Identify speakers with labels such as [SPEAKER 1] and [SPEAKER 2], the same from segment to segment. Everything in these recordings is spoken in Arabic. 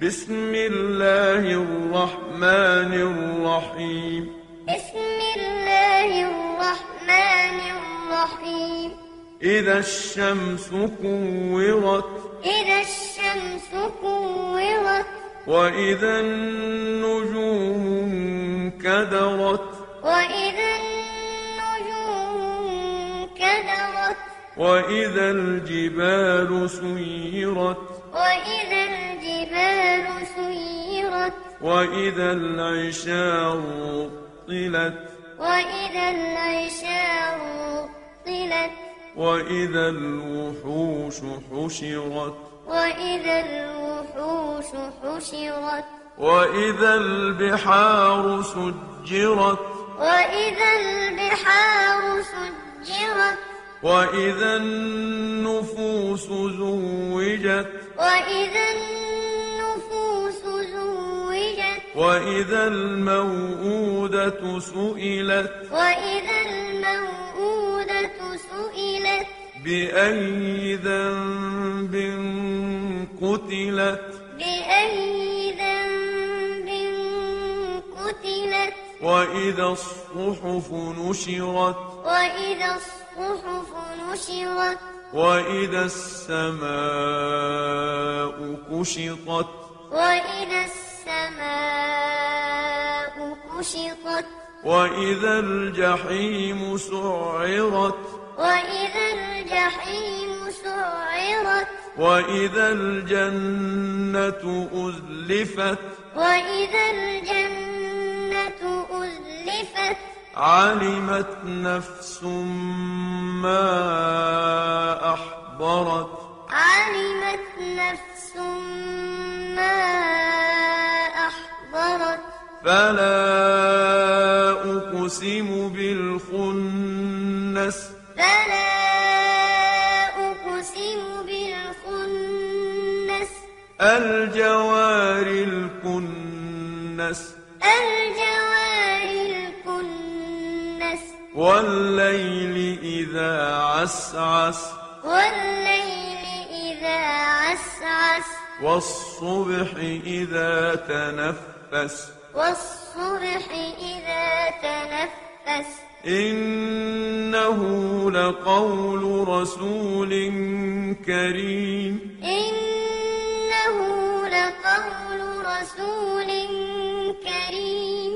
[SPEAKER 1] بسم الله الرحمن الرحيم
[SPEAKER 2] بسم الله الرحمن الرحيم
[SPEAKER 1] إذا الشمس كورت
[SPEAKER 2] إذا الشمس كورت
[SPEAKER 1] وإذا النجوم انكدرت
[SPEAKER 2] وإذا النجوم انكدرت
[SPEAKER 1] وإذا الجبال سيرت
[SPEAKER 2] وإذا الجبال سيرت
[SPEAKER 1] وإذا العشار طلت
[SPEAKER 2] وإذا العشار طلت
[SPEAKER 1] وإذا الوحوش حشرت
[SPEAKER 2] وإذا الوحوش حشرت
[SPEAKER 1] وإذا البحار سجرت
[SPEAKER 2] وإذا البحار سجرت
[SPEAKER 1] وإذا النفوس زوجت
[SPEAKER 2] وإذا النفوس زوجت
[SPEAKER 1] وإذا الموءودة سئلت
[SPEAKER 2] وإذا الموءودة سئلت
[SPEAKER 1] بأي ذنب قتلت
[SPEAKER 2] بأي ذنب قتلت
[SPEAKER 1] وإذا الصحف نشرت
[SPEAKER 2] وإذا الصحف نشرت
[SPEAKER 1] وإذا السماء كشطت
[SPEAKER 2] وإذا السماء كشطت
[SPEAKER 1] وإذا الجحيم سعرت
[SPEAKER 2] وإذا الجحيم سعرت
[SPEAKER 1] وإذا الجنة أزلفت
[SPEAKER 2] وإذا الجنة أزلفت
[SPEAKER 1] علمت نفس ما أحضرت
[SPEAKER 2] علمت نفس ما أحضرت
[SPEAKER 1] فلا أقسم بالخنس
[SPEAKER 2] فلا أقسم بالخنس
[SPEAKER 1] الجوار الكنس
[SPEAKER 2] الجوار الكنس
[SPEAKER 1] والليل إذا عسعس
[SPEAKER 2] والليل إذا عسعس
[SPEAKER 1] والصبح إذا تنفس
[SPEAKER 2] والصبح إذا تنفس
[SPEAKER 1] إنه لقول رسول كريم
[SPEAKER 2] إنه لقول رسول كريم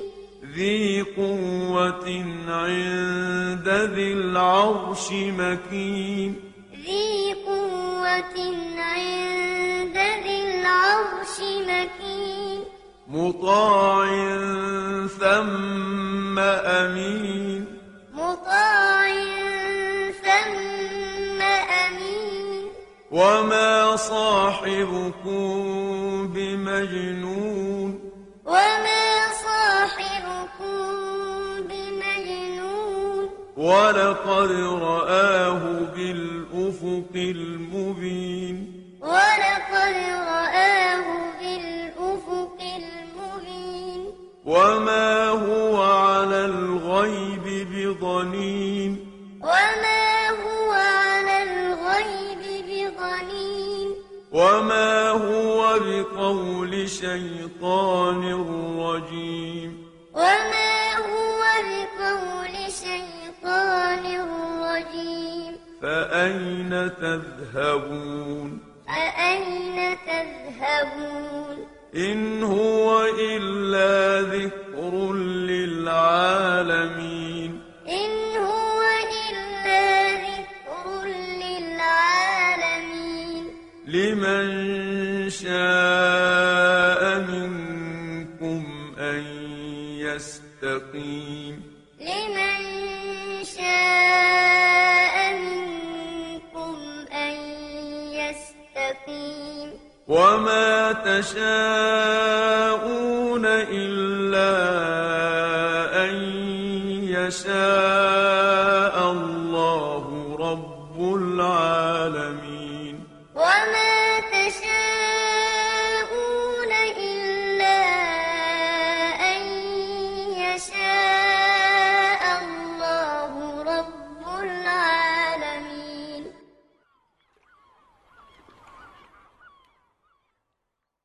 [SPEAKER 1] ذي قوة عند ذي العرش مكين
[SPEAKER 2] ذي قوة عند ذي العرش مكين
[SPEAKER 1] مطاع ثم أمين
[SPEAKER 2] مطاع ثم أمين
[SPEAKER 1] وما صاحبكم بمجنون
[SPEAKER 2] وما صاحبكم بمجنون
[SPEAKER 1] ولقد رآه بالأفق المبين
[SPEAKER 2] ولقد رآه بالأفق المبين
[SPEAKER 1] وما هو على الغيب بضنين
[SPEAKER 2] وما هو على الغيب بضنين
[SPEAKER 1] وما هو بقول شيطان رجيم
[SPEAKER 2] وما هو بقول شيطان رجيم
[SPEAKER 1] فأين تذهبون
[SPEAKER 2] فأين تذهبون
[SPEAKER 1] إن هو إلا ذكر للعالمين
[SPEAKER 2] إن هو إلا ذكر للعالمين
[SPEAKER 1] لمن شاء منكم أن يستقيم
[SPEAKER 2] لمن شاء منكم أن يستقيم
[SPEAKER 1] وما تشاءون إلا أن يشاء الله